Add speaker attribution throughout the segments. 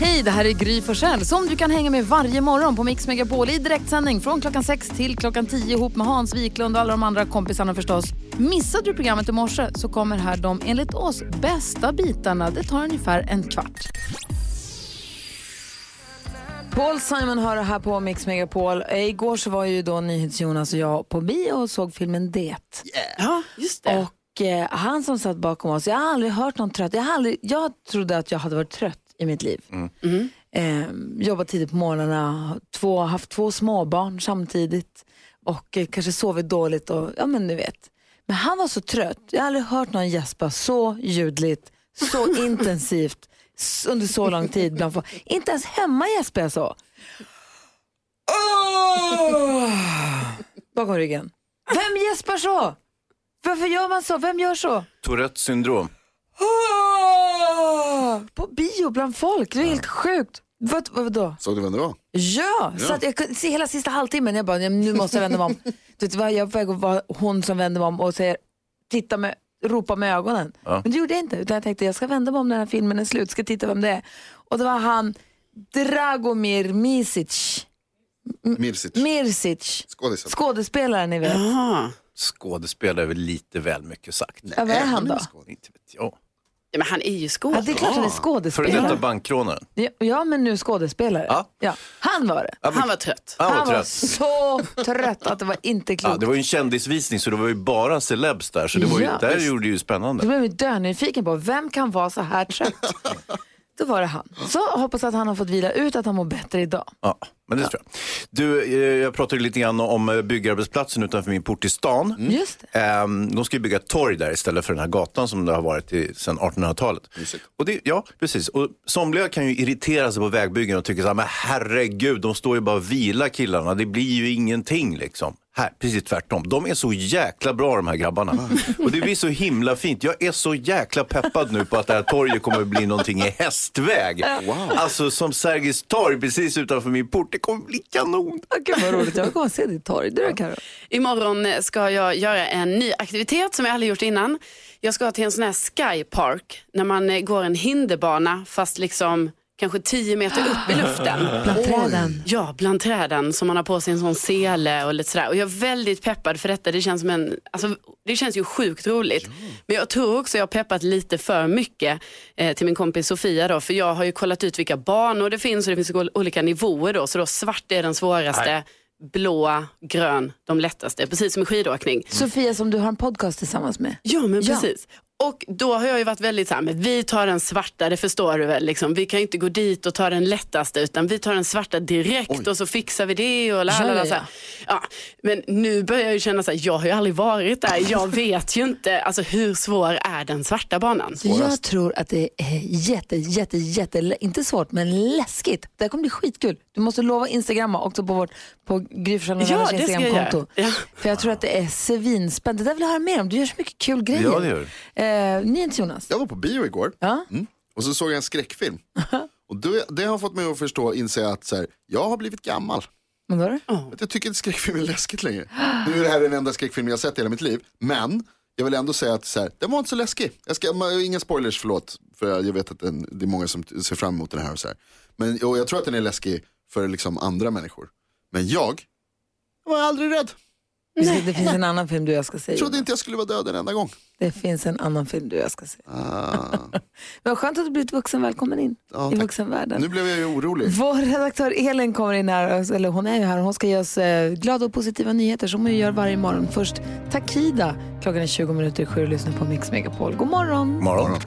Speaker 1: Hej, det här är Gry Forssell som du kan hänga med varje morgon på Mix Megapol i direktsändning från klockan 6 till klockan 10 ihop med Hans Wiklund och alla de andra kompisarna förstås. Missade du programmet i morse så kommer här de enligt oss bästa bitarna. Det tar ungefär en kvart. Paul Simon hör det här på Mix Megapol. Eh, Igår så var ju då NyhetsJonas och jag på bio och såg filmen Det.
Speaker 2: Ja, just det.
Speaker 1: Och eh, han som satt bakom oss, jag har aldrig hört någon trött. Jag, har aldrig, jag trodde att jag hade varit trött i mitt liv. Eh, jobbat tidigt på morgnarna, två, haft två småbarn samtidigt och eh, kanske sovit dåligt och ja men du vet. Men han var så trött, jag har aldrig hört någon gäspa så ljudligt, så intensivt s- under så lång tid. Bland folk. Inte ens hemma gäspar jag så. Åh! Bakom ryggen. Vem gäspar så? Varför gör man så? Vem gör så?
Speaker 3: Tourettes syndrom.
Speaker 1: På bio bland folk, det är helt sjukt. Vad, vad, vadå?
Speaker 4: Såg du vem det var?
Speaker 1: Ja, så att jag kunde se hela sista halvtimmen. Jag bara, "Ja, nu måste jag vända mig om. du vet, vad, jag var på väg att vara hon som vänder mig om och säger, titta med, ropa med ögonen. Men det gjorde jag inte, utan jag tänkte jag ska vända mig om när den här filmen är slut, ska titta vem det är. Och det var han Dragomir Misic,
Speaker 4: Mirsic.
Speaker 1: Mirsic,
Speaker 4: Skådisen.
Speaker 1: skådespelaren ni vet.
Speaker 2: Jaha.
Speaker 3: Skådespelare är väl lite väl mycket sagt.
Speaker 1: Ja,
Speaker 4: Äh,
Speaker 1: vad är han då?
Speaker 3: Inte vet jag.
Speaker 2: Ja, men han är ju
Speaker 1: Ja, det är
Speaker 2: skådis.
Speaker 1: klart
Speaker 3: Ah.
Speaker 1: han är
Speaker 3: Före detta
Speaker 1: skådespelare.
Speaker 3: bankrånaren.
Speaker 1: Ja, Ja, men nu skådespelare.
Speaker 3: Ja.
Speaker 1: Ja, han var det.
Speaker 2: Han var trött.
Speaker 3: Han var
Speaker 1: Han var
Speaker 3: trött.
Speaker 1: så trött att det var inte
Speaker 3: Ja,
Speaker 1: klokt.
Speaker 3: Ah, det var ju en kändisvisning så det var ju bara celebs där. Så det var ju,
Speaker 1: Ja,
Speaker 3: där
Speaker 1: visst.
Speaker 3: gjorde det ju
Speaker 1: Då
Speaker 3: spännande.
Speaker 1: blev jag dönyfiken på vem kan vara så här trött. Då var det han. Så hoppas att han har fått vila ut, att han mår bättre idag.
Speaker 3: Ja, men det tror jag. Du, eh, jag pratade lite grann om eh, byggarbetsplatsen utanför min port i stan.
Speaker 1: Just det.
Speaker 3: Ehm, de ska ju bygga ett torg där istället för den här gatan som det har varit i, sedan 1800-talet. Och det, ja, precis. Och somliga kan ju irritera sig på vägbyggen och tycka så här, men herregud, de står ju bara och vilar killarna. Det blir ju ingenting liksom. Här, precis tvärtom. De är så jäkla bra de här grabbarna. Och det blir så himla fint. Jag är så jäkla peppad nu på att det här torget kommer att bli någonting i hästväg. Alltså som Sergels torg precis utanför min port. Det kommer bli kanon.
Speaker 1: Ja, Gud vad roligt, jag kommer att se ditt torg. Du då Karo?
Speaker 2: Imorgon eh, ska jag göra en ny aktivitet som jag aldrig gjort innan. Jag ska till en sån här skypark, när man eh, går en hinderbana fast liksom kanske 10 meter upp i luften.
Speaker 1: Bland träden.
Speaker 2: Ja, bland träden som man har på sig en sån sele och lite sådär. Och jag är väldigt peppad för detta. Det känns, som en, alltså, det känns ju sjukt roligt. Men jag tror också jag har peppat lite för mycket eh, till min kompis Sofia då. För jag har ju kollat ut vilka banor det finns och det finns ol- olika nivåer då. Så då svart är den svåraste, blå, grön, de lättaste. Precis som i skidåkning.
Speaker 1: Sofia som du har en podcast tillsammans med.
Speaker 2: Ja, men
Speaker 1: Ja.
Speaker 2: precis. Och då har jag ju varit väldigt så här, men vi tar den svarta, det förstår du väl. Liksom. Vi kan ju inte gå dit och ta den lättaste, utan vi tar den svarta direkt och så fixar vi det. Och la, la, la,
Speaker 1: Ja, ja,
Speaker 2: så här. Ja, men nu börjar jag ju känna så här, jag har ju aldrig varit där. Jag vet ju inte, alltså hur svår är den svarta banan?
Speaker 1: Jag tror att det är jätte, jätte, jätte, inte svårt, men läskigt. Det här kommer bli skitkul. Du måste lova Instagramma också på vårt, på Gry Forssell med
Speaker 2: Ja,
Speaker 1: vänners
Speaker 2: det ska jag göra.
Speaker 1: Instagramkonto.
Speaker 2: Ja.
Speaker 1: För jag tror att det är svinspännande. Det där vill jag höra mer om. Du gör så mycket kul grejer.
Speaker 3: Ja, det gör
Speaker 1: Eh, ni är inte Jonas?
Speaker 4: Jag var på bio igår
Speaker 1: Ja.
Speaker 4: mm. och så såg jag en skräckfilm. Och det, det har fått mig att förstå, inse att så här, jag har blivit gammal.
Speaker 1: Vad var det?
Speaker 4: Att jag tycker inte skräckfilm är läskigt längre. Nu är det här den enda skräckfilm jag sett i hela mitt liv. Men jag vill ändå säga att så här, den var inte så läskig. Jag ska, ma- inga spoilers, förlåt. För jag jag vet att den, det är många som t- ser fram emot den här. Och så här. Men och jag tror att den är läskig för liksom andra människor. Men jag, jag var aldrig rädd.
Speaker 1: Det finns en annan film du och jag ska se.
Speaker 4: Jag trodde
Speaker 1: Jonas.
Speaker 4: inte jag skulle vara död en enda gång.
Speaker 1: Det finns en annan film du och jag ska se.
Speaker 4: Ah,
Speaker 1: Men skönt att du blivit vuxen. Välkommen in
Speaker 4: Ja,
Speaker 1: i
Speaker 4: tack.
Speaker 1: vuxenvärlden.
Speaker 4: nu blev jag ju orolig.
Speaker 1: Vår redaktör Elin kommer in här, alltså, eller hon är ju här, och hon ska ge oss eh, glada och positiva nyheter som hon gör varje morgon. Först Takida, klockan är 20 minuter i sju och lyssnar på Mix Megapol. God morgon!
Speaker 3: Morgon.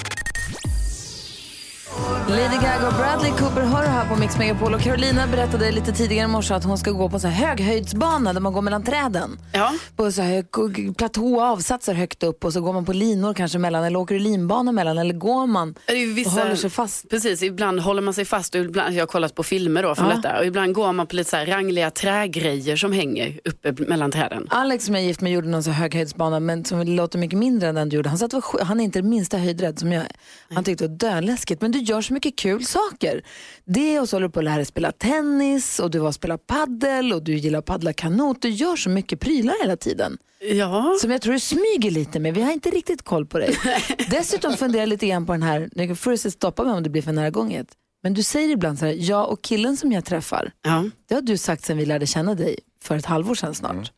Speaker 1: Lady Gaga och Bradley Cooper hör det här på Mix Megapol och Carolina berättade lite tidigare i morse att hon ska gå på en sån här höghöjdsbana där man går mellan träden.
Speaker 2: Ja.
Speaker 1: På så här k- k- platå och avsatser högt upp och så går man på linor kanske mellan eller åker du linbana mellan eller går man
Speaker 2: Det är ju vissa-
Speaker 1: och håller sig fast.
Speaker 2: Precis, ibland håller man sig fast och ibland, jag har kollat på filmer då från
Speaker 1: Ja.
Speaker 2: detta och ibland går man på lite så här rangliga trägrejer som hänger uppe mellan träden.
Speaker 1: Alex som jag är gift med gjorde någon så här höghöjdsbana men som låter mycket mindre än den du gjorde. Han sa att det var sj- han är inte det minsta höjdrädd som jag är. Han tyckte det var dödläskigt. Men du gör så mycket kul saker. Det och så håller du på att lära dig spela tennis och du var och spela paddel och du gillar att paddla kanot. Du gör så mycket prylar hela tiden.
Speaker 2: Ja.
Speaker 1: Som jag tror du smyger lite med. Vi har inte riktigt koll på dig. Dessutom funderar jag lite grann på den här, nu får du se- stoppa mig om det blir för nära gånget. Men du säger ibland så här, jag och killen som jag träffar,
Speaker 2: Ja.
Speaker 1: det har du sagt sen vi lärde känna dig för ett halvår sedan snart.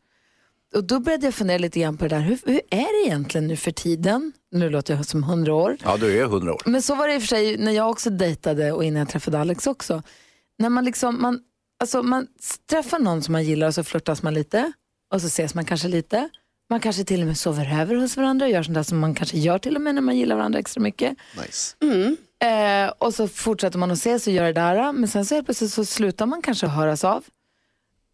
Speaker 1: Och då började jag fundera lite grann på det där, hur, hur är det egentligen nu för tiden? Nu låter jag som hundra år.
Speaker 3: Ja, du är hundra år.
Speaker 1: Men så var det i och för sig när jag också dejtade och innan jag träffade Alex också. När man liksom, man, alltså man s- träffar någon som man gillar och så flörtas man lite och så ses man kanske lite. Man kanske till och med sover över hos varandra och gör sånt där som man kanske gör till och med när man gillar varandra extra mycket.
Speaker 4: Nice.
Speaker 1: Eh, och så fortsätter man att ses och göra det där. Men sen så helt plötsligt så slutar man kanske höras av.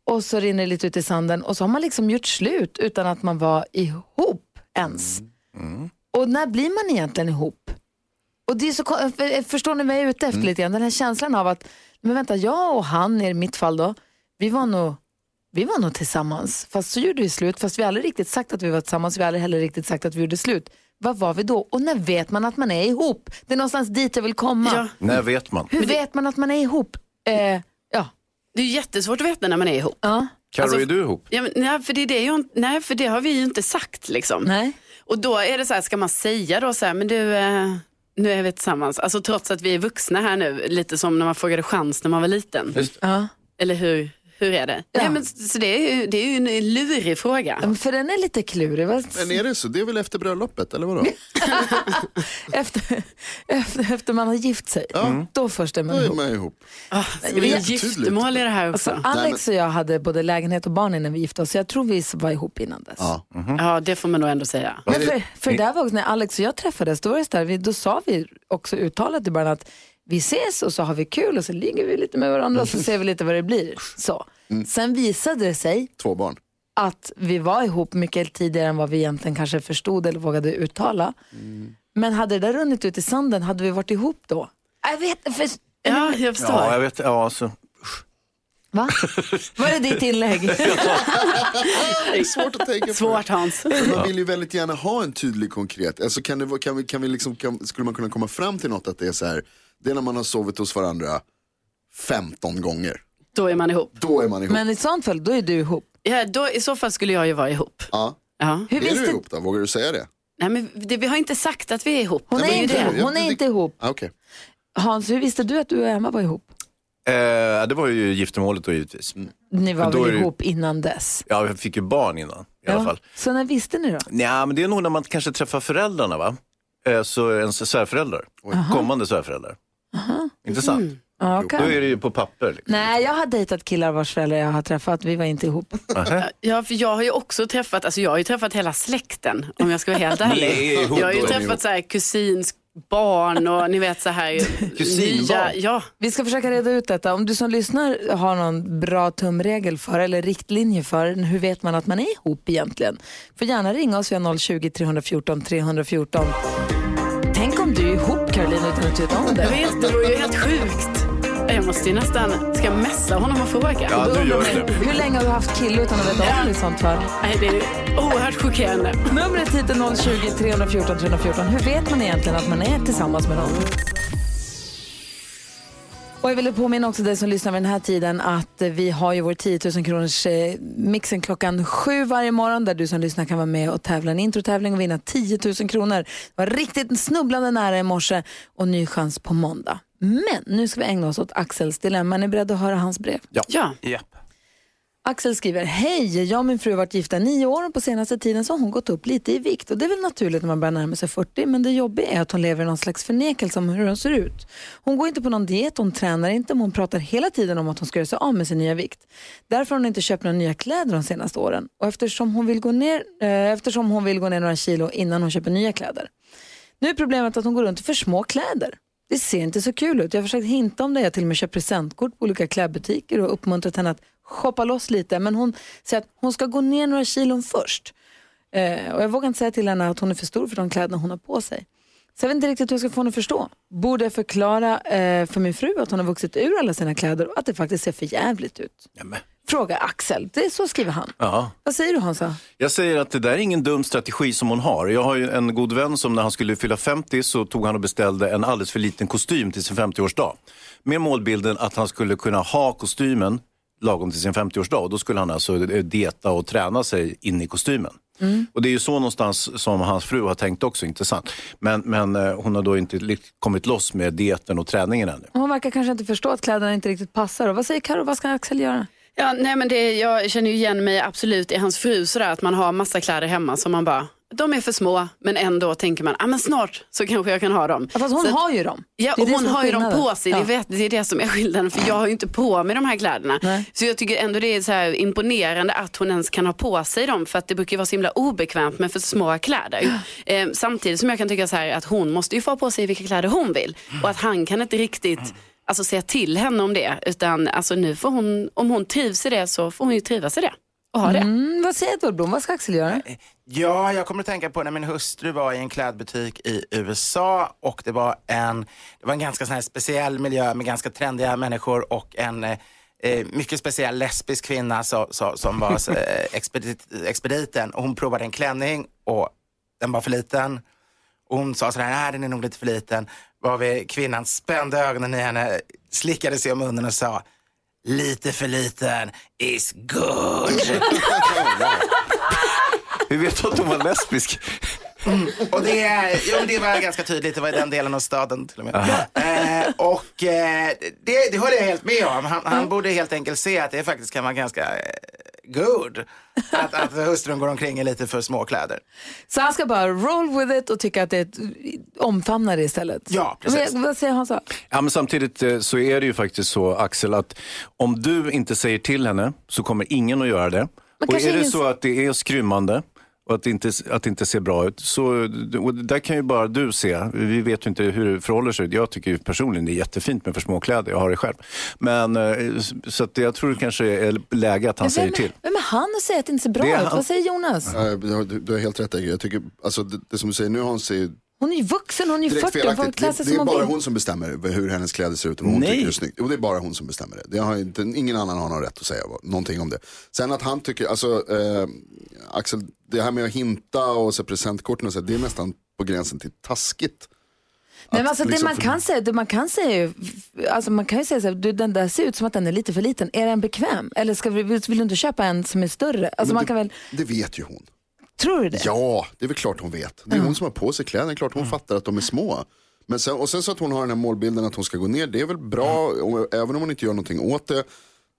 Speaker 1: Och så rinner det lite ut i sanden och så har man liksom gjort slut utan att man var ihop ens. Och när blir man egentligen ihop? Och det är så, kon- för- eh, förstår ni vad jag är ute efter lite grann? Den här känslan av att, men vänta, jag och han, i mitt fall då, vi var nog, vi var nog tillsammans. Fast så gjorde vi slut, fast vi har aldrig riktigt sagt att vi var tillsammans, vi har aldrig heller riktigt sagt att vi gjorde slut. Vad var vi då? Och när vet man att man är ihop? Det är någonstans dit jag vill komma.
Speaker 2: Ja.
Speaker 3: När vet man?
Speaker 1: Hur vet man att man är ihop? Eh, ja.
Speaker 2: Det är jättesvårt att veta när man är ihop.
Speaker 1: ja.
Speaker 3: Carro,
Speaker 2: Alltså-
Speaker 3: är du ihop?
Speaker 2: Ja, men, nej, för det är det jag, inte- nej, för det har vi ju inte sagt. Liksom.
Speaker 1: Nej.
Speaker 2: Och då är det så här, ska man säga då så här, men du, eh, nu är vi tillsammans. Alltså trots att vi är vuxna här nu, lite som när man frågade chans när man var liten.
Speaker 1: Ja.
Speaker 2: Eller hur, hur är det?
Speaker 1: Ja.
Speaker 2: Nej, men, så det är, ju, det är ju en lurig fråga.
Speaker 1: Ja, men För den är lite klurig. Vad-
Speaker 4: Men är det så? Det är väl efter bröllopet, eller vadå?
Speaker 1: Efter, efter, efter man har gift sig, Mm. då först är
Speaker 4: Då
Speaker 1: man
Speaker 4: är
Speaker 1: ihop.
Speaker 4: man ihop.
Speaker 2: Ah, Det är
Speaker 4: jättetydligt.
Speaker 2: giftermål i det här också.
Speaker 1: Alltså, Alex och jag hade både lägenhet och barn innan vi gifte oss, så jag tror vi var ihop innan dess.
Speaker 4: Ja.
Speaker 3: Mhm.
Speaker 2: Ja, det får man nog ändå säga.
Speaker 1: Men för, för det där var också, när Alex och jag träffades, då, var det så där, vi, då sa vi också uttalat i början att vi ses och så har vi kul och så ligger vi lite med varandra och så ser vi lite vad det blir. Så.
Speaker 4: Mm.
Speaker 1: Sen visade det sig
Speaker 4: Två barn.
Speaker 1: att vi var ihop mycket tidigare än vad vi egentligen kanske förstod eller vågade uttala. Men hade det där runnit ut i sanden, hade vi varit ihop då? Jag vet för...
Speaker 2: Ja, jag förstår.
Speaker 3: Ja, jag vet. Ja, alltså.
Speaker 1: Va? Var det ditt inlägg?
Speaker 4: Det är svårt att tänka på.
Speaker 2: Svårt Hans.
Speaker 4: Men Man vill ju väldigt gärna ha en tydlig konkret. Alltså kan det, vara- kan vi, kan vi liksom, kan, skulle man kunna komma fram till något att det är så här, det är när man har sovit hos varandra 15 gånger.
Speaker 2: Då är man ihop.
Speaker 4: Då är man ihop.
Speaker 1: Men i sånt fall, då är du ihop.
Speaker 2: Ja, då, I så fall skulle jag ju vara ihop.
Speaker 4: Ja.
Speaker 2: Ja.
Speaker 1: Hur
Speaker 4: Är du
Speaker 1: visste...
Speaker 4: ihop då? Vågar du säga det?
Speaker 2: Nej, men det, vi har inte sagt att vi är ihop.
Speaker 1: Hon
Speaker 2: det
Speaker 1: är,
Speaker 2: är ju
Speaker 1: inte,
Speaker 2: det.
Speaker 1: ihop. hon är
Speaker 4: Jag-
Speaker 1: inte ihop.
Speaker 4: Ah, Okej.
Speaker 1: Hans, hur visste du att du och Emma var ihop?
Speaker 3: Eh, det var ju giftermålet då givetvis.
Speaker 1: Ni var
Speaker 3: Men då
Speaker 1: väl
Speaker 3: är det-
Speaker 1: ihop innan dess?
Speaker 3: Ja, jag fick ju barn innan i alla fall.
Speaker 1: Så när visste ni då?
Speaker 3: Nej, men det är nog när man kanske träffar föräldrarna, va? Eh, så ens svärföräldrar. Kommande svärföräldrar. Intressant.
Speaker 2: Mm.
Speaker 1: Ja,
Speaker 3: Då
Speaker 1: okej.
Speaker 3: är det ju på papper. Liksom.
Speaker 1: Nej, jag har dejtat killar vars föräldrar jag har träffat. Vi var inte ihop.
Speaker 2: Ja, för jag har ju också träffat, alltså jag har ju träffat hela släkten om jag ska vara helt ärlig.
Speaker 3: är ihop
Speaker 2: Jag har ju
Speaker 3: då.
Speaker 2: träffat så här kusins barn och ni vet så här
Speaker 3: Kusinbarn?
Speaker 2: ja.
Speaker 1: Vi ska försöka reda ut detta. Om du som lyssnar har någon bra tumregel för eller riktlinje för hur vet man att man är ihop egentligen? Får gärna ringa oss via 020-314 314. Tänk om du är ihop Caroline utan att veta om
Speaker 2: Jag
Speaker 1: det.
Speaker 2: vet, det vore ju helt sjukt. Jag måste ju nästan, ska jag messa honom och fråga?
Speaker 3: Ja, du gör det.
Speaker 1: Hur länge har du haft kille utan att veta om det i sånt fall?
Speaker 2: Nej, det är ju oerhört chockerande.
Speaker 1: Numret hit är 020 314 314. Hur vet man egentligen att man är tillsammans med någon? Och jag ville påminna också dig som lyssnar vid den här tiden att eh, vi har ju vår 10 000 kronors eh, mixen klockan sju varje morgon där du som lyssnar kan vara med och tävla i en introtävling och vinna 10 000 kronor. Det var riktigt snubblande nära i morse och ny chans på måndag. Men nu ska vi ägna oss åt Axels dilemma. Är ni beredda att höra hans brev?
Speaker 2: Ja,
Speaker 3: Japp.
Speaker 1: Axel skriver, hej, jag och min fru har varit gifta i nio år och på senaste tiden så har hon gått upp lite i vikt. Och det är väl naturligt när man börjar närma sig 40, men det jobbiga är att hon lever i någon slags förnekelse om hur hon ser ut. Hon går inte på någon diet, hon tränar inte, men hon pratar hela tiden om att hon ska göra sig av med sin nya vikt. Därför har hon inte köpt några nya kläder de senaste åren. Och eftersom hon vill gå ner, eh, eftersom hon vill gå ner några kilo innan hon köper nya kläder. Nu är problemet att hon går runt i för små kläder. Det ser inte så kul ut. Jag har försökt hinta om det. Jag har till och med köpt presentkort på olika klädbutiker och uppmuntrat henne att shoppa loss lite. Men hon säger att hon ska gå ner några kilon först. Eh, och jag vågar inte säga till henne att hon är för stor för de kläderna hon har på sig. Så jag vet inte riktigt hur jag ska få henne att förstå. Borde jag förklara eh, för min fru att hon har vuxit ur alla sina kläder och att det faktiskt ser för jävligt ut?
Speaker 3: Nämen.
Speaker 1: Fråga Axel. Det är så skriver han.
Speaker 3: Ja.
Speaker 1: Vad säger du Hansa?
Speaker 3: Jag säger att det där är ingen dum strategi som hon har. Jag har ju en god vän som när han skulle fylla 50 så tog han och beställde en alldeles för liten kostym till sin 50-årsdag. Med målbilden att han skulle kunna ha kostymen lagom till sin 50-årsdag. Och Då skulle han alltså eh, dieta och träna sig in i kostymen. Och det är ju så någonstans som hans fru har tänkt också, intressant. Men, men eh, hon har då inte lyck- kommit loss med dieten och träningen ännu.
Speaker 1: Hon verkar kanske inte förstå att kläderna inte riktigt passar. Och vad säger Karo, vad ska Axel göra?
Speaker 2: Ja, nej, men det, jag känner ju igen mig absolut i hans fru, sådär, att man har massa kläder hemma som man bara, de är för små, men ändå tänker man, ah, men snart så kanske jag kan ha dem.
Speaker 1: Ja, Fast hon
Speaker 2: Så att-
Speaker 1: har ju dem.
Speaker 2: Ja,
Speaker 1: Det är
Speaker 2: och
Speaker 1: det
Speaker 2: hon
Speaker 1: som är
Speaker 2: har ju dem
Speaker 1: skillnaden.
Speaker 2: på sig. Det,
Speaker 1: Ja.
Speaker 2: är, vet- det är det som är skillnaden. För jag har ju inte på mig de här kläderna.
Speaker 1: Nej.
Speaker 2: Så jag tycker ändå det är så här imponerande att hon ens kan ha på sig dem. För att det brukar ju vara så himla obekvämt med för små kläder. Eh, samtidigt som jag kan tycka så här att hon måste ju få ha på sig vilka kläder hon vill. Och att han kan inte riktigt alltså, säga till henne om det. Utan alltså, nu får hon, om hon trivs i det så får hon ju trivas i det. Och ha det.
Speaker 1: Mm, vad säger Edward Blom, vad ska Axel göra?
Speaker 5: Ja, jag kommer att tänka på när min hustru var i en klädbutik i USA och det var en, det var en ganska sån här speciell miljö med ganska trendiga människor och en eh, eh, mycket speciell lesbisk kvinna så, så, som var eh, expedit, expediten. Och hon provade en klänning och den var för liten. Och hon sa sådär, nej den är nog lite för liten. Varvid kvinnan spände ögonen i henne, slickade sig om munnen och sa, lite för liten is good.
Speaker 3: Vi vet att hon var lesbisk.
Speaker 5: Och det, ja, men det var ganska tydligt, det var i den delen av staden till och med. Eh, och eh, det, det håller jag helt med om. Han, han borde helt enkelt se att det faktiskt kan vara ganska eh, good. Att, att hustrun går omkring i lite för små kläder.
Speaker 1: Så han ska bara roll with it och tycka att det är ett, omfamna det istället.
Speaker 5: Ja, precis.
Speaker 1: Men, vad säger Hansa?
Speaker 3: Ja, men samtidigt eh, så är det ju faktiskt så, Axel, att om du inte säger till henne så kommer ingen att göra det.
Speaker 1: Men
Speaker 3: och
Speaker 1: kanske
Speaker 3: är det
Speaker 1: ingen-
Speaker 3: så att det är skrymmande och att det inte, att det inte ser bra ut, så och där kan ju bara du se. Vi vet ju inte hur det förhåller sig. Jag tycker ju personligen det är jättefint med för små kläder. Jag har det själv. Men, eh, så att jag tror det kanske är läge att han säger till.
Speaker 1: Vem är han och säger att det inte ser bra
Speaker 3: Det är
Speaker 1: ut?
Speaker 3: han.
Speaker 1: Vad säger Jonas?
Speaker 4: Eh, Du, har- du har helt rätt Egil. Jag tycker, alltså, det, det som du säger nu Hans är ju
Speaker 1: Hon är ju vuxen, hon är ju
Speaker 4: direkt
Speaker 1: 40, hon får
Speaker 4: felaktigt.
Speaker 1: klä
Speaker 4: Det,
Speaker 1: sig
Speaker 4: det är
Speaker 1: som
Speaker 4: bara
Speaker 1: hon vill.
Speaker 4: hon som bestämmer hur hennes kläder ser ut och vad hon
Speaker 3: Nej.
Speaker 4: tycker är snyggt. Jo, det är bara hon som bestämmer det. det har inte, ingen annan har någon rätt att säga vad- någonting om det. Sen att han tycker, alltså eh, Axel, det här med att hinta och så här presentkorten och så, här, det är nästan på gränsen till taskigt.
Speaker 1: Nej,
Speaker 4: Att
Speaker 1: men alltså, det,
Speaker 4: liksom
Speaker 1: man
Speaker 4: för-
Speaker 1: kan säga, det man kan säga är ju- alltså, man kan ju säga så här, du, den där ser ut som att den är lite för liten. Är den bekväm? Eller ska vi, vill du inte köpa en som är större? Alltså,
Speaker 4: Men
Speaker 1: man
Speaker 4: det-
Speaker 1: kan väl,
Speaker 4: Det vet ju hon.
Speaker 1: tror du det?
Speaker 4: Ja, det är väl klart hon vet. Det är hon som har på sig kläderna, Det är klart hon fattar att de är små. Men sen, och sen så att hon har den här målbilden att hon ska gå ner, det är väl bra, och, även om hon inte gör någonting åt det.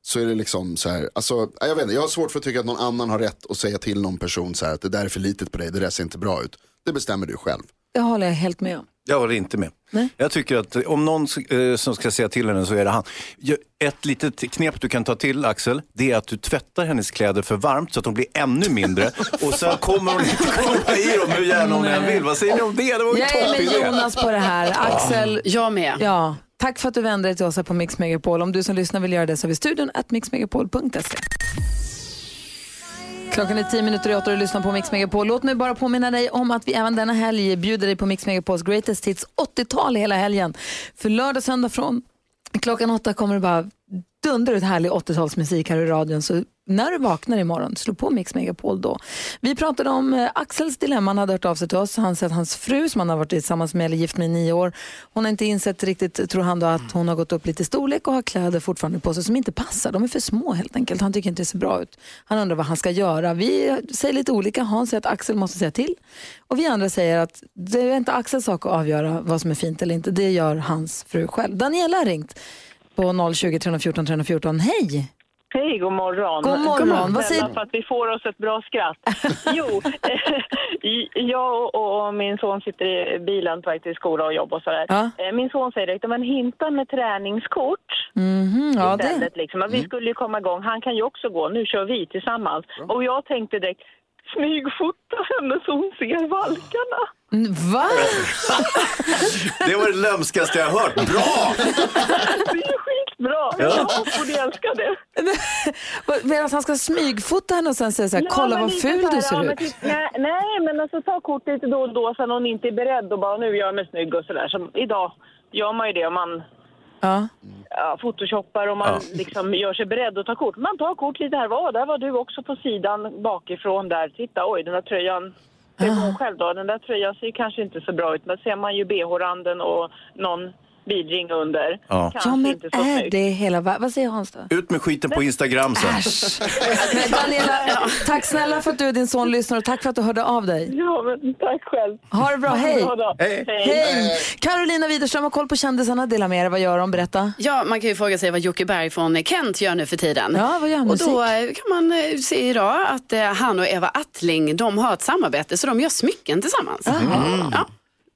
Speaker 4: Så är det liksom så här, alltså, nej, jag vet inte, jag har svårt för att tycka att någon annan har rätt att säga till någon person så här att det där är för litet på dig, det där ser inte bra ut. Det bestämmer du själv.
Speaker 1: Det håller jag helt med om.
Speaker 3: Jag håller inte med. Jag tycker att eh, om någon eh, som ska säga till henne så är det han. Ja, Ett litet knep du kan ta till Axel, det är att du tvättar hennes kläder för varmt så att de blir ännu mindre och sen kommer hon inte komma i dem hur gärna hon än vill. Vad säger ni om det? Det var ju
Speaker 1: Jag är med
Speaker 3: toppen.
Speaker 1: Jonas på det här. Axel,
Speaker 2: Jag med.
Speaker 1: ja, tack för att du vände dig till oss här på Mix Megapol. Om du som lyssnar vill göra det så har vi studion at mixmegapol.se. Klockan är tio minuter i åtta och du lyssnar på Mix Megapol. Låt mig bara påminna dig om att vi även denna helg bjuder dig på Mix Megapols Greatest Hits 80-tal hela helgen. För lördag och söndag från klockan åtta kommer det bara dundra ut härlig 80-talsmusik här i radion. Så när du vaknar imorgon, slå på Mix Megapol då. Vi pratade om eh, Axels dilemma, han hade hört av sig till oss. Han säger att hans fru som han har varit tillsammans med eller gift med i nio år, hon har inte insett riktigt, tror han då, att hon har gått upp lite i storlek och har kläder fortfarande på sig som inte passar. De är för små helt enkelt. Han tycker inte det ser bra ut. Han undrar vad han ska göra. Vi säger lite olika. Hans säger att Axel måste säga till och vi andra säger att det är inte Axels sak att avgöra vad som är fint eller inte. Det gör hans fru själv. Daniela har ringt på 020 314 314. Hej!
Speaker 6: Hej, god morgon.
Speaker 1: God morgon.
Speaker 6: Tack
Speaker 1: Vad
Speaker 6: snälla
Speaker 1: säger-
Speaker 6: för att vi får oss ett bra skratt. jo, i- jag och, och min son sitter i bilen på väg till skola och jobb och sådär.
Speaker 1: Ja.
Speaker 6: Eh, Min son säger direkt, men hinta med träningskort
Speaker 1: Mhm, ja, det. Mm.
Speaker 6: istället. Liksom. Men Vi skulle ju komma igång. Han kan ju också gå. Nu kör vi tillsammans. Och jag tänkte direkt, smygfota henne så hon ser valkarna.
Speaker 1: Mm, Va?
Speaker 3: Det var det lömskaste jag hört. Bra!
Speaker 6: Det är ju skitbra. Ja, och det älskar det.
Speaker 1: Vad- Medan han ska smygfota henne och sen säga så här,
Speaker 6: Ja,
Speaker 1: kolla
Speaker 6: men
Speaker 1: vad
Speaker 6: lite
Speaker 1: ful
Speaker 6: så här,
Speaker 1: du
Speaker 6: ja,
Speaker 1: ser
Speaker 6: men
Speaker 1: ut.
Speaker 6: typ, nej, nej, men alltså ta kort lite då och då så att någon inte är beredd och bara nu gör jag mig snygg och sådär. Som idag gör man ju det om man
Speaker 1: Ja.
Speaker 6: ja, photoshoppar och man liksom gör sig beredd att ta kort. Man tar kort lite här var. Där var du också på sidan bakifrån där. Titta, oj den där tröjan.
Speaker 1: Ah.
Speaker 6: Det är hon själv då. Den där tröjan ser ju kanske inte så bra ut men ser man ju bh-randen och någon bidring under.
Speaker 3: Ja.
Speaker 6: Kanske
Speaker 1: Ja, men
Speaker 6: inte så
Speaker 1: är
Speaker 6: snyggt.
Speaker 1: det hela världen? Vad säger Hans då?
Speaker 3: Ut med skiten på Instagram sen.
Speaker 1: Men Daniela, tack snälla för att du och din son lyssnar och tack för att du hörde av dig.
Speaker 6: Ja, men tack själv.
Speaker 1: Ha det bra, hej!
Speaker 6: Ha det.
Speaker 3: Hej.
Speaker 1: Hej! Carolina Widerström har koll på kändisarna, dela med er. Vad gör de? Berätta.
Speaker 2: Ja, man kan ju fråga sig vad Jocke Berg från Kent gör nu för tiden.
Speaker 1: Ja, vad gör han?
Speaker 2: Och då eh, kan man eh, se idag att eh, han och Eva Attling, de har ett samarbete så de gör smycken tillsammans. Ja.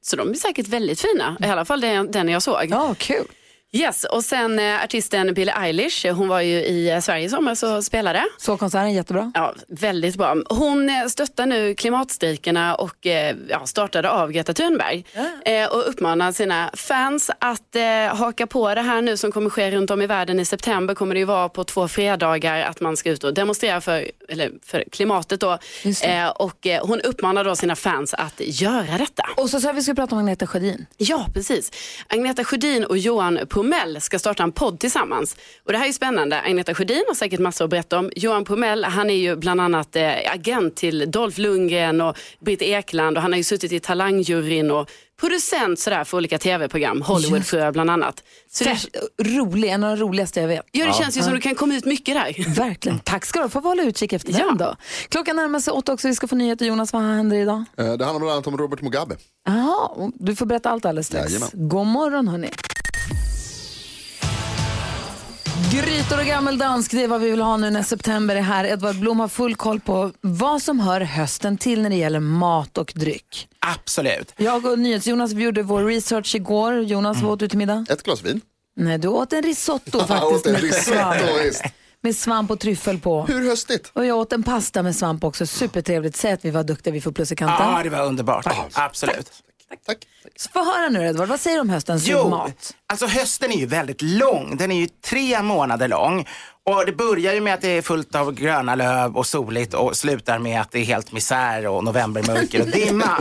Speaker 2: Så de är säkert väldigt fina, i alla fall den, den jag såg.
Speaker 1: Ja, kul.
Speaker 2: Yes, och sen eh, artisten Billie Eilish, eh, hon var ju i eh, Sverige i somras och spelade.
Speaker 1: Så konserten, jättebra.
Speaker 2: Ja, väldigt bra. Hon eh, stöttar nu klimatstrejkerna och eh, ja, startade av Greta Thunberg. Eh, Och uppmanar sina fans att eh, haka på det här nu som kommer ske runt om i världen. I september kommer det ju vara på två fredagar att man ska ut och demonstrera för, eller för klimatet. Då.
Speaker 1: Just det.
Speaker 2: Eh, Och eh, hon uppmanar då sina fans att göra detta.
Speaker 1: Och så sa vi att vi skulle prata om Agneta Sjödin.
Speaker 2: Ja, precis. Agneta Sjödin och Johan Promell ska starta en podd tillsammans. Och Det här är ju spännande. Agneta Sjödin har säkert massor att berätta om. Johan Promell, han är ju bland annat eh, agent till Dolph Lundgren och Britt Ekland och han har ju suttit i Talangjuryn och producent sådär för olika tv-program, Hollywoodfruar bland annat. Så det,
Speaker 1: Rolig, en av de roligaste jag vet.
Speaker 2: ja, det känns ju som du kan komma ut mycket där.
Speaker 1: Verkligen. Tack ska du ha. Får vi hålla utkik efter
Speaker 2: Ja.
Speaker 1: den då. Klockan närmar sig åtta också. Vi ska få nyheter. Jonas, vad händer idag?
Speaker 4: Eh, Det handlar bland annat om Robert Mugabe.
Speaker 1: Jaha, du får berätta allt alldeles strax.
Speaker 4: Jajamän.
Speaker 1: God morgon hörni. Grytor och gammeldansk, det är vad vi vill ha nu när september är här. Edvard Blom har full koll på vad som hör hösten till när det gäller mat och dryck.
Speaker 5: Absolut.
Speaker 1: Jag och NyhetsJonas vi gjorde vår research igår. Jonas, vad åt du till middag?
Speaker 4: Ett glas vin.
Speaker 1: Nej, du åt en risotto
Speaker 4: Jag Mm. åt
Speaker 1: faktiskt.
Speaker 4: en
Speaker 1: med svamp.
Speaker 4: risotto, visst.
Speaker 1: Med svamp och tryffel på.
Speaker 4: Hur höstigt?
Speaker 1: Och jag åt en pasta med svamp också. Supertrevligt. Säg att vi var duktiga, vi får plus i kanten.
Speaker 5: Ja, det var underbart. Absolut.
Speaker 4: Tack.
Speaker 1: Så Få höra nu Edvard, vad säger du om höstens mat?
Speaker 5: alltså hösten är ju väldigt lång. Den är ju tre månader lång. Och det börjar ju med att det är fullt av gröna löv och soligt och slutar med att det är helt misär och novembermörker och dimma.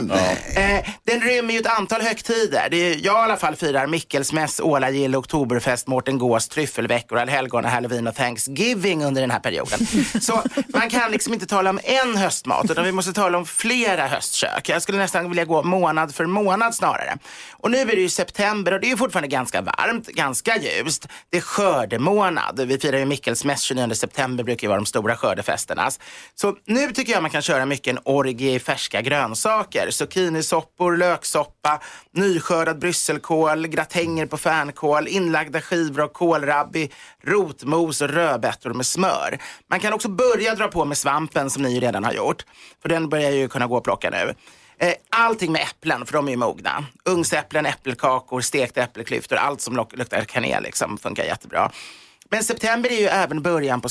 Speaker 5: eh, den rymmer ju ett antal högtider. Det är, jag i alla fall firar Mikkelsmäss, Ålagill, Oktoberfest, Mårten Gås, Tryffelveckor, Allhelgona, Halloween och Thanksgiving under den här perioden. Så man kan liksom inte tala om en höstmat utan vi måste tala om flera höstkök. Jag skulle nästan vilja gå månad för månad snarare. Och nu är det ju september och det är ju fortfarande ganska varmt, ganska ljust. Det är skördemånad. Vi firar ju Mikkelsmäss 29 september, brukar ju vara de stora skördefesterna. Så nu tycker jag man kan köra mycket en orgie i färska grönsaker. Zucchinisoppor, löksoppa, nyskördad brysselkål, gratänger på fänkål, inlagda skivor av kålrabbi, rotmos och rödbetor med smör. Man kan också börja dra på med svampen som ni ju redan har gjort. För den börjar ju kunna gå och plocka nu. Eh, Allting med äpplen, för de är ju mogna. Ugnsäpplen, äppelkakor, stekta äppelklyftor, allt som luk- luktar kanel liksom, funkar jättebra. Men september är ju även början på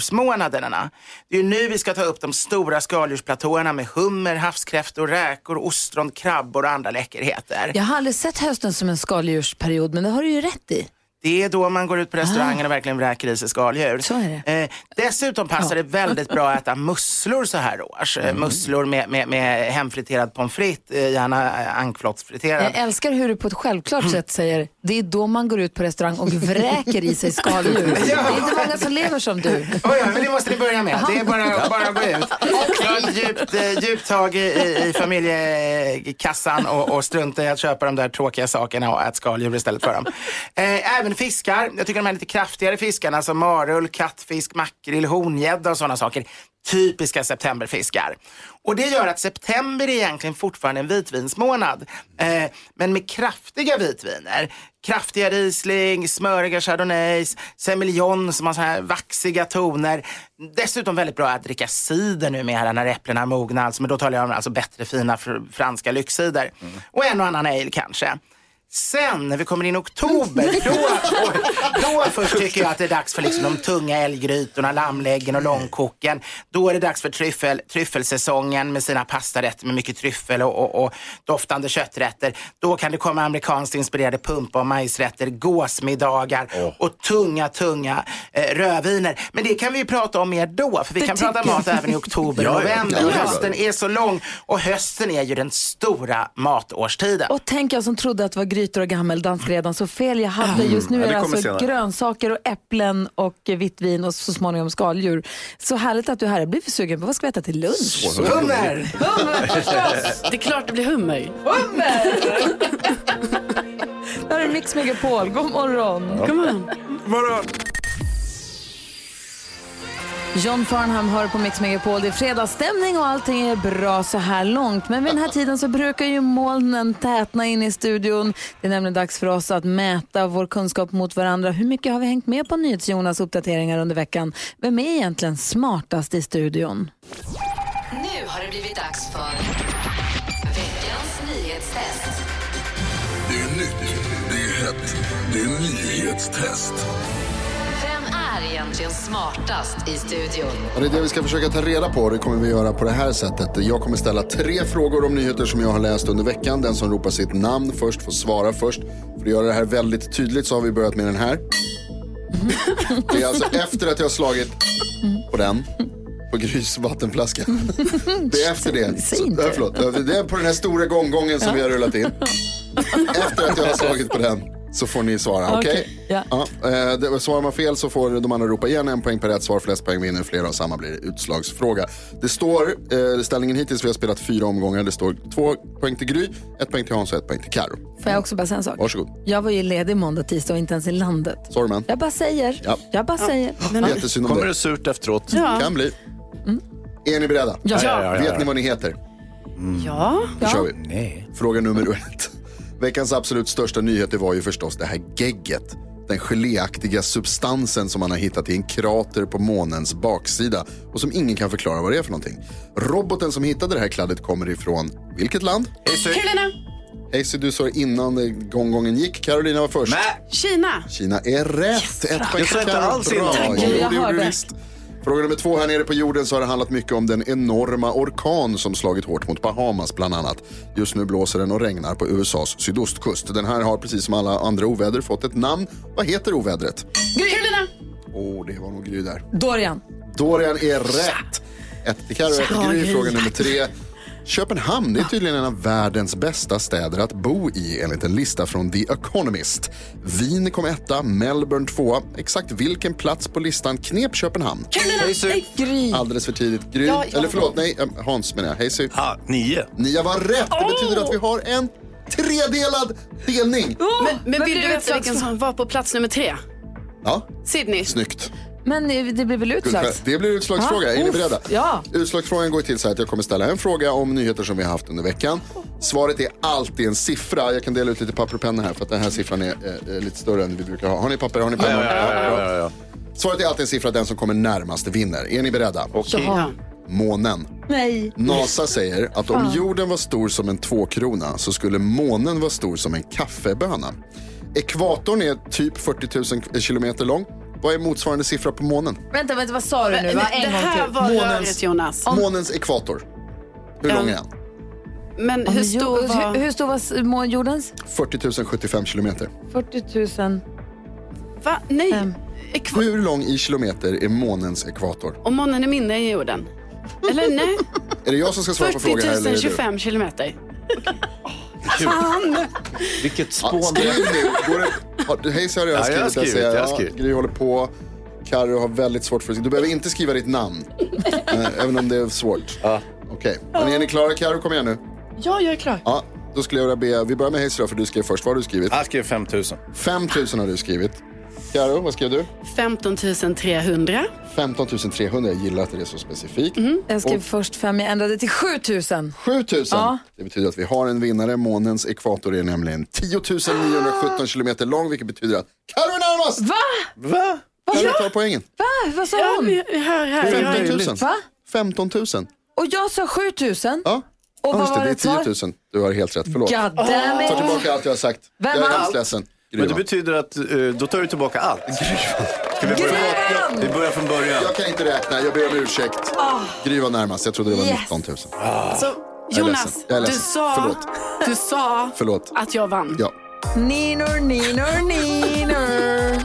Speaker 5: skaldjursmånaderna. Det är ju nu vi ska ta upp de stora skaldjursplatåerna med hummer, havskräftor, räkor, ostron, krabbor och andra läckerheter.
Speaker 1: Jag har aldrig sett hösten som en skaldjursperiod, men det har du ju rätt i.
Speaker 5: Det är då man går ut på restaurangen och verkligen vräker i sig skaldjur.
Speaker 1: Ah. Så är
Speaker 5: Eh, dessutom passar det väldigt bra att äta musslor så här års. Eh,
Speaker 1: Mm.
Speaker 5: Musslor med, med, med hemfriterad pommes frites, eh, gärna eh, ankflottsfriterad.
Speaker 1: Jag älskar hur du på ett självklart sätt säger det är då man går ut på restaurang och vräker i sig skaldjur. Det är inte många som lever som du.
Speaker 5: Oj, ja, men det måste ni börja med. Det är bara, bara att gå ut. Och ta ett djupt, eh, djupt tag i, i, i familjekassan och, och strunta i att köpa de där tråkiga sakerna och ät skaldjur istället för dem. Eh, även fiskar. Jag tycker de här lite kraftigare fiskarna som marull, kattfisk, makrill, hongädda och sådana saker. Typiska septemberfiskar. Och det gör att september är egentligen fortfarande en vitvinsmånad. Eh, men med kraftiga vitviner. Kraftiga Riesling, smöriga Chardonnays, Semillon som har så här vaxiga toner. Dessutom väldigt bra att dricka cider numera när äpplena är mogna. Alltså, men då talar jag om alltså bättre fina fr- franska lyxcider. Och en och annan ale kanske. Sen när vi kommer in i oktober, då, då först tycker jag att det är dags för liksom de tunga älggrytorna, lammläggen och långkoken. Då är det dags för tryffel, tryffelsäsongen med sina pastarätter med mycket tryffel och, och, och doftande kötträtter. Då kan det komma amerikanskt inspirerade pumpa och majsrätter, gåsmiddagar och tunga, tunga eh, rödviner. Men det kan vi ju prata om mer då, för vi kan prata mat även i oktober och
Speaker 3: Ja, ja.
Speaker 5: november.
Speaker 3: Ja,
Speaker 5: Och
Speaker 3: ja.
Speaker 5: hösten är så lång och hösten är ju den stora matårstiden.
Speaker 1: Och tänk jag som trodde att det var grytor och gammeldansk redan, så fel jag hade. Just nu
Speaker 3: Mm. Ja,
Speaker 1: är
Speaker 3: det
Speaker 1: det
Speaker 3: kommer
Speaker 1: alltså
Speaker 3: senare.
Speaker 1: grönsaker och äpplen och eh, vitt vin och så småningom skaldjur. Så härligt att du är här. Jag blir för sugen på vad ska vi äta till lunch?
Speaker 5: Hummer!
Speaker 1: Hummer förstås!
Speaker 2: Det är klart det blir hummer.
Speaker 1: Hummer! Det här är Mix Megapol. God morgon.
Speaker 2: God morgon.
Speaker 1: John Farnham hör på Mix Megapol. Det är fredagsstämning och allting är bra så här långt. Men vid den här tiden så brukar ju molnen tätna in i studion. Det är nämligen dags för oss att mäta vår kunskap mot varandra. Hur mycket har vi hängt med på NyhetsJonas uppdateringar under veckan? Vem är egentligen smartast i studion?
Speaker 7: Nu har det blivit dags för veckans nyhetstest. Vem är egentligen smartast i studion?
Speaker 4: Ja, det är det vi ska försöka ta reda på. Det kommer vi göra på det här sättet. Jag kommer ställa tre frågor om nyheter som jag har läst under veckan. Den som ropar sitt namn först får svara först. För att göra det här väldigt tydligt så har vi börjat med den här. Det är alltså efter att jag har slagit på den. På Grys vattenflaska. Det är efter det.
Speaker 1: Säg
Speaker 4: Så-
Speaker 1: inte.
Speaker 4: nej, förlåt. Det är på den här stora gonggongen som vi har rullat in. Efter att jag har slagit på den så får ni svara. Okej?
Speaker 1: Okej, ja.
Speaker 4: Ja, eh, det- svarar man fel så får de andra ropa igen en poäng per rätt svar. Flest poäng vinner, flera av samma blir utslagsfråga. Det står, eh, ställningen hittills, vi har spelat fyra omgångar. Det står två poäng till Gry, ett poäng till Hans och ett poäng till Karo.
Speaker 1: Får jag också bara säga en sak?
Speaker 4: Varsågod.
Speaker 1: Jag var ju ledig måndag, tisdag och inte ens i landet.
Speaker 4: Sorry man.
Speaker 1: Jag bara säger.
Speaker 4: Ja.
Speaker 1: Jag bara säger.
Speaker 4: Jättesynd om
Speaker 3: Kommer det
Speaker 4: det.
Speaker 3: surt efteråt?
Speaker 4: Kan bli. Är ni beredda?
Speaker 1: Ja.
Speaker 3: ja, ja.
Speaker 4: Vet ni vad ni heter?
Speaker 2: Ja.
Speaker 4: Då kör vi.
Speaker 3: Nej.
Speaker 4: Fråga nummer ett. Veckans absolut största nyhet det var ju förstås det här gegget. Den geléaktiga substansen som man har hittat i en krater på månens baksida och som ingen kan förklara vad det är för någonting. Roboten som hittade det här kladdet kommer ifrån vilket land?
Speaker 2: Carolina.
Speaker 4: Hazy, du sa innan eh, gånggången gick. Carolina var först.
Speaker 3: Nä.
Speaker 2: Kina.
Speaker 4: Kina är rätt. Ett poäng
Speaker 3: Jag sa
Speaker 4: till
Speaker 3: inte
Speaker 4: Karo.
Speaker 3: alls
Speaker 4: Bra.
Speaker 3: innan.
Speaker 4: Jo,
Speaker 1: Tack,
Speaker 4: det
Speaker 1: jag
Speaker 4: gjorde du
Speaker 1: hörde.
Speaker 4: visst. Fråga nummer två. Här nere på jorden så har det handlat mycket om den enorma orkan som slagit hårt mot Bahamas bland annat. Just nu blåser den och regnar på USAs sydostkust. Den här har precis som alla andra oväder fått ett namn. Vad heter ovädret?
Speaker 2: Carolina.
Speaker 4: Åh, det var nog Gry där.
Speaker 1: Dorian.
Speaker 4: Dorian är rätt. Ett till Carro, ett till Gry. Fråga nummer tre. Köpenhamn det är tydligen en av världens bästa städer att bo i enligt en lista från The Economist. Wien kom etta, Melbourne tvåa. Exakt vilken plats på listan knep Köpenhamn?
Speaker 2: Carolina.
Speaker 1: Gry.
Speaker 4: Alldeles för tidigt. Gry,
Speaker 2: Ja, ja.
Speaker 4: eller förlåt, nej, eh, Hans menar jag. Hej Sy.
Speaker 3: Ah, nio.
Speaker 4: Nia var rätt. Det betyder att vi har en tredelad delning.
Speaker 2: Men, men vill
Speaker 1: blev
Speaker 2: du
Speaker 1: ett
Speaker 2: veta vilken
Speaker 1: slags-
Speaker 2: som var på plats nummer tre?
Speaker 4: Ja,
Speaker 2: Sydney.
Speaker 4: snyggt.
Speaker 1: Men eh, det blir väl utslags?
Speaker 4: Det blir utslagsfråga.
Speaker 1: Ja,
Speaker 4: är ni
Speaker 1: Ah, uff,
Speaker 4: beredda?
Speaker 1: ja.
Speaker 4: Utslagsfrågan går till så här att jag kommer ställa en fråga om nyheter som vi har haft under veckan. Svaret är alltid en siffra. Jag kan dela ut lite papper och penna här för att den här siffran är eh, eh, lite större än vi brukar ha. Har ni papper? Har ni penna?
Speaker 3: ja, ja.
Speaker 4: Svaret är alltid en siffra. Den som kommer närmast vinner. Är ni beredda?
Speaker 2: Ja.
Speaker 4: Månen.
Speaker 1: Nej.
Speaker 4: NASA säger att om jorden var stor som en tvåkrona så skulle månen vara stor som en kaffeböna. Ekvatorn är typ 40 000 kilometer lång. Vad är motsvarande siffra på månen?
Speaker 1: Vänta, vänta, vad sa du nu? Va?
Speaker 2: Det
Speaker 1: En gång
Speaker 2: här
Speaker 1: till.
Speaker 2: var
Speaker 4: Månens-
Speaker 2: rörigt Jonas.
Speaker 4: Månens ekvator. Hur lång är den?
Speaker 2: Men hur stor var...
Speaker 1: hur, hur stor var s- må- jordens?
Speaker 4: 40 075 kilometer.
Speaker 1: 40 000.
Speaker 2: Va? Nej.
Speaker 1: Fem.
Speaker 2: Ekva-
Speaker 4: Hur lång i kilometer är månens ekvator?
Speaker 2: Om månen är mindre än jorden. Eller nej,
Speaker 4: Är det jag som ska svara på frågan här
Speaker 2: 40
Speaker 4: eller
Speaker 2: 000
Speaker 4: är det du?
Speaker 2: 25 kilometer.
Speaker 3: Vilket
Speaker 4: Ja,
Speaker 3: spån det
Speaker 4: skriv
Speaker 3: är.
Speaker 4: nu. Går det... ja, hej så har jag
Speaker 3: Ja, jag har
Speaker 4: skrivit. Jag
Speaker 3: skrivit,
Speaker 4: ser-
Speaker 3: jag har
Speaker 4: ja,
Speaker 3: skrivit.
Speaker 4: Gry håller på. Carro har väldigt svårt för sig. Du behöver inte skriva ditt namn. eh, även om det är svårt. Okej, men är ni klara Carro? Kom igen nu.
Speaker 1: Ja, jag är klar.
Speaker 4: Ja, då skulle jag vilja be, vi börjar med Hayes då, för du skrev först. Vad har du skrivit?
Speaker 3: Jag skrev 5 000.
Speaker 4: 5 000 har du skrivit. Karo, vad skrev du?
Speaker 2: 15 300.
Speaker 4: 15 300. Jag gillar att det är så specifikt.
Speaker 1: Jag skrev först fem, jag ändrade till 7 000.
Speaker 4: 7 000. Det betyder att vi har en vinnare. Månens ekvator är nämligen 10 917 kilometer lång, vilket betyder att Karo är närmast!
Speaker 1: Va?
Speaker 3: Va?
Speaker 4: Karo tar poängen.
Speaker 1: Va? Vad sa
Speaker 2: Ja,
Speaker 1: hon?
Speaker 2: vi- här, här. Jag är-
Speaker 4: 15 000.
Speaker 1: Va?
Speaker 4: 15 000.
Speaker 1: Och jag sa 7 000?
Speaker 4: Ja.
Speaker 1: Och vad
Speaker 4: just
Speaker 1: var
Speaker 4: det,
Speaker 1: rätt
Speaker 4: det är
Speaker 1: svar?
Speaker 4: 10 000. Du har helt rätt, förlåt.
Speaker 1: God damn it.
Speaker 4: Tar tillbaka allt jag har sagt.
Speaker 1: Vem
Speaker 4: jag är
Speaker 1: vann?
Speaker 4: hemskt ledsen. Gry
Speaker 3: Men det
Speaker 4: vann.
Speaker 3: betyder att eh, då tar du tillbaka allt. Ska vi börja?
Speaker 1: Gryvan!
Speaker 3: Vi börjar från början.
Speaker 4: Jag kan inte räkna, jag ber om ursäkt. Gry var närmast, jag trodde det var
Speaker 1: Ah. Yes.
Speaker 4: 19 000.
Speaker 2: Alltså,
Speaker 4: är
Speaker 2: Jonas,
Speaker 4: ledsen. Jag är
Speaker 2: du
Speaker 4: ledsen.
Speaker 2: sa,
Speaker 4: Förlåt.
Speaker 2: du sa
Speaker 4: Förlåt.
Speaker 1: Ah.
Speaker 2: att jag vann.
Speaker 4: Ja.
Speaker 1: Ninor, ninor, ninor.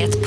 Speaker 7: Ett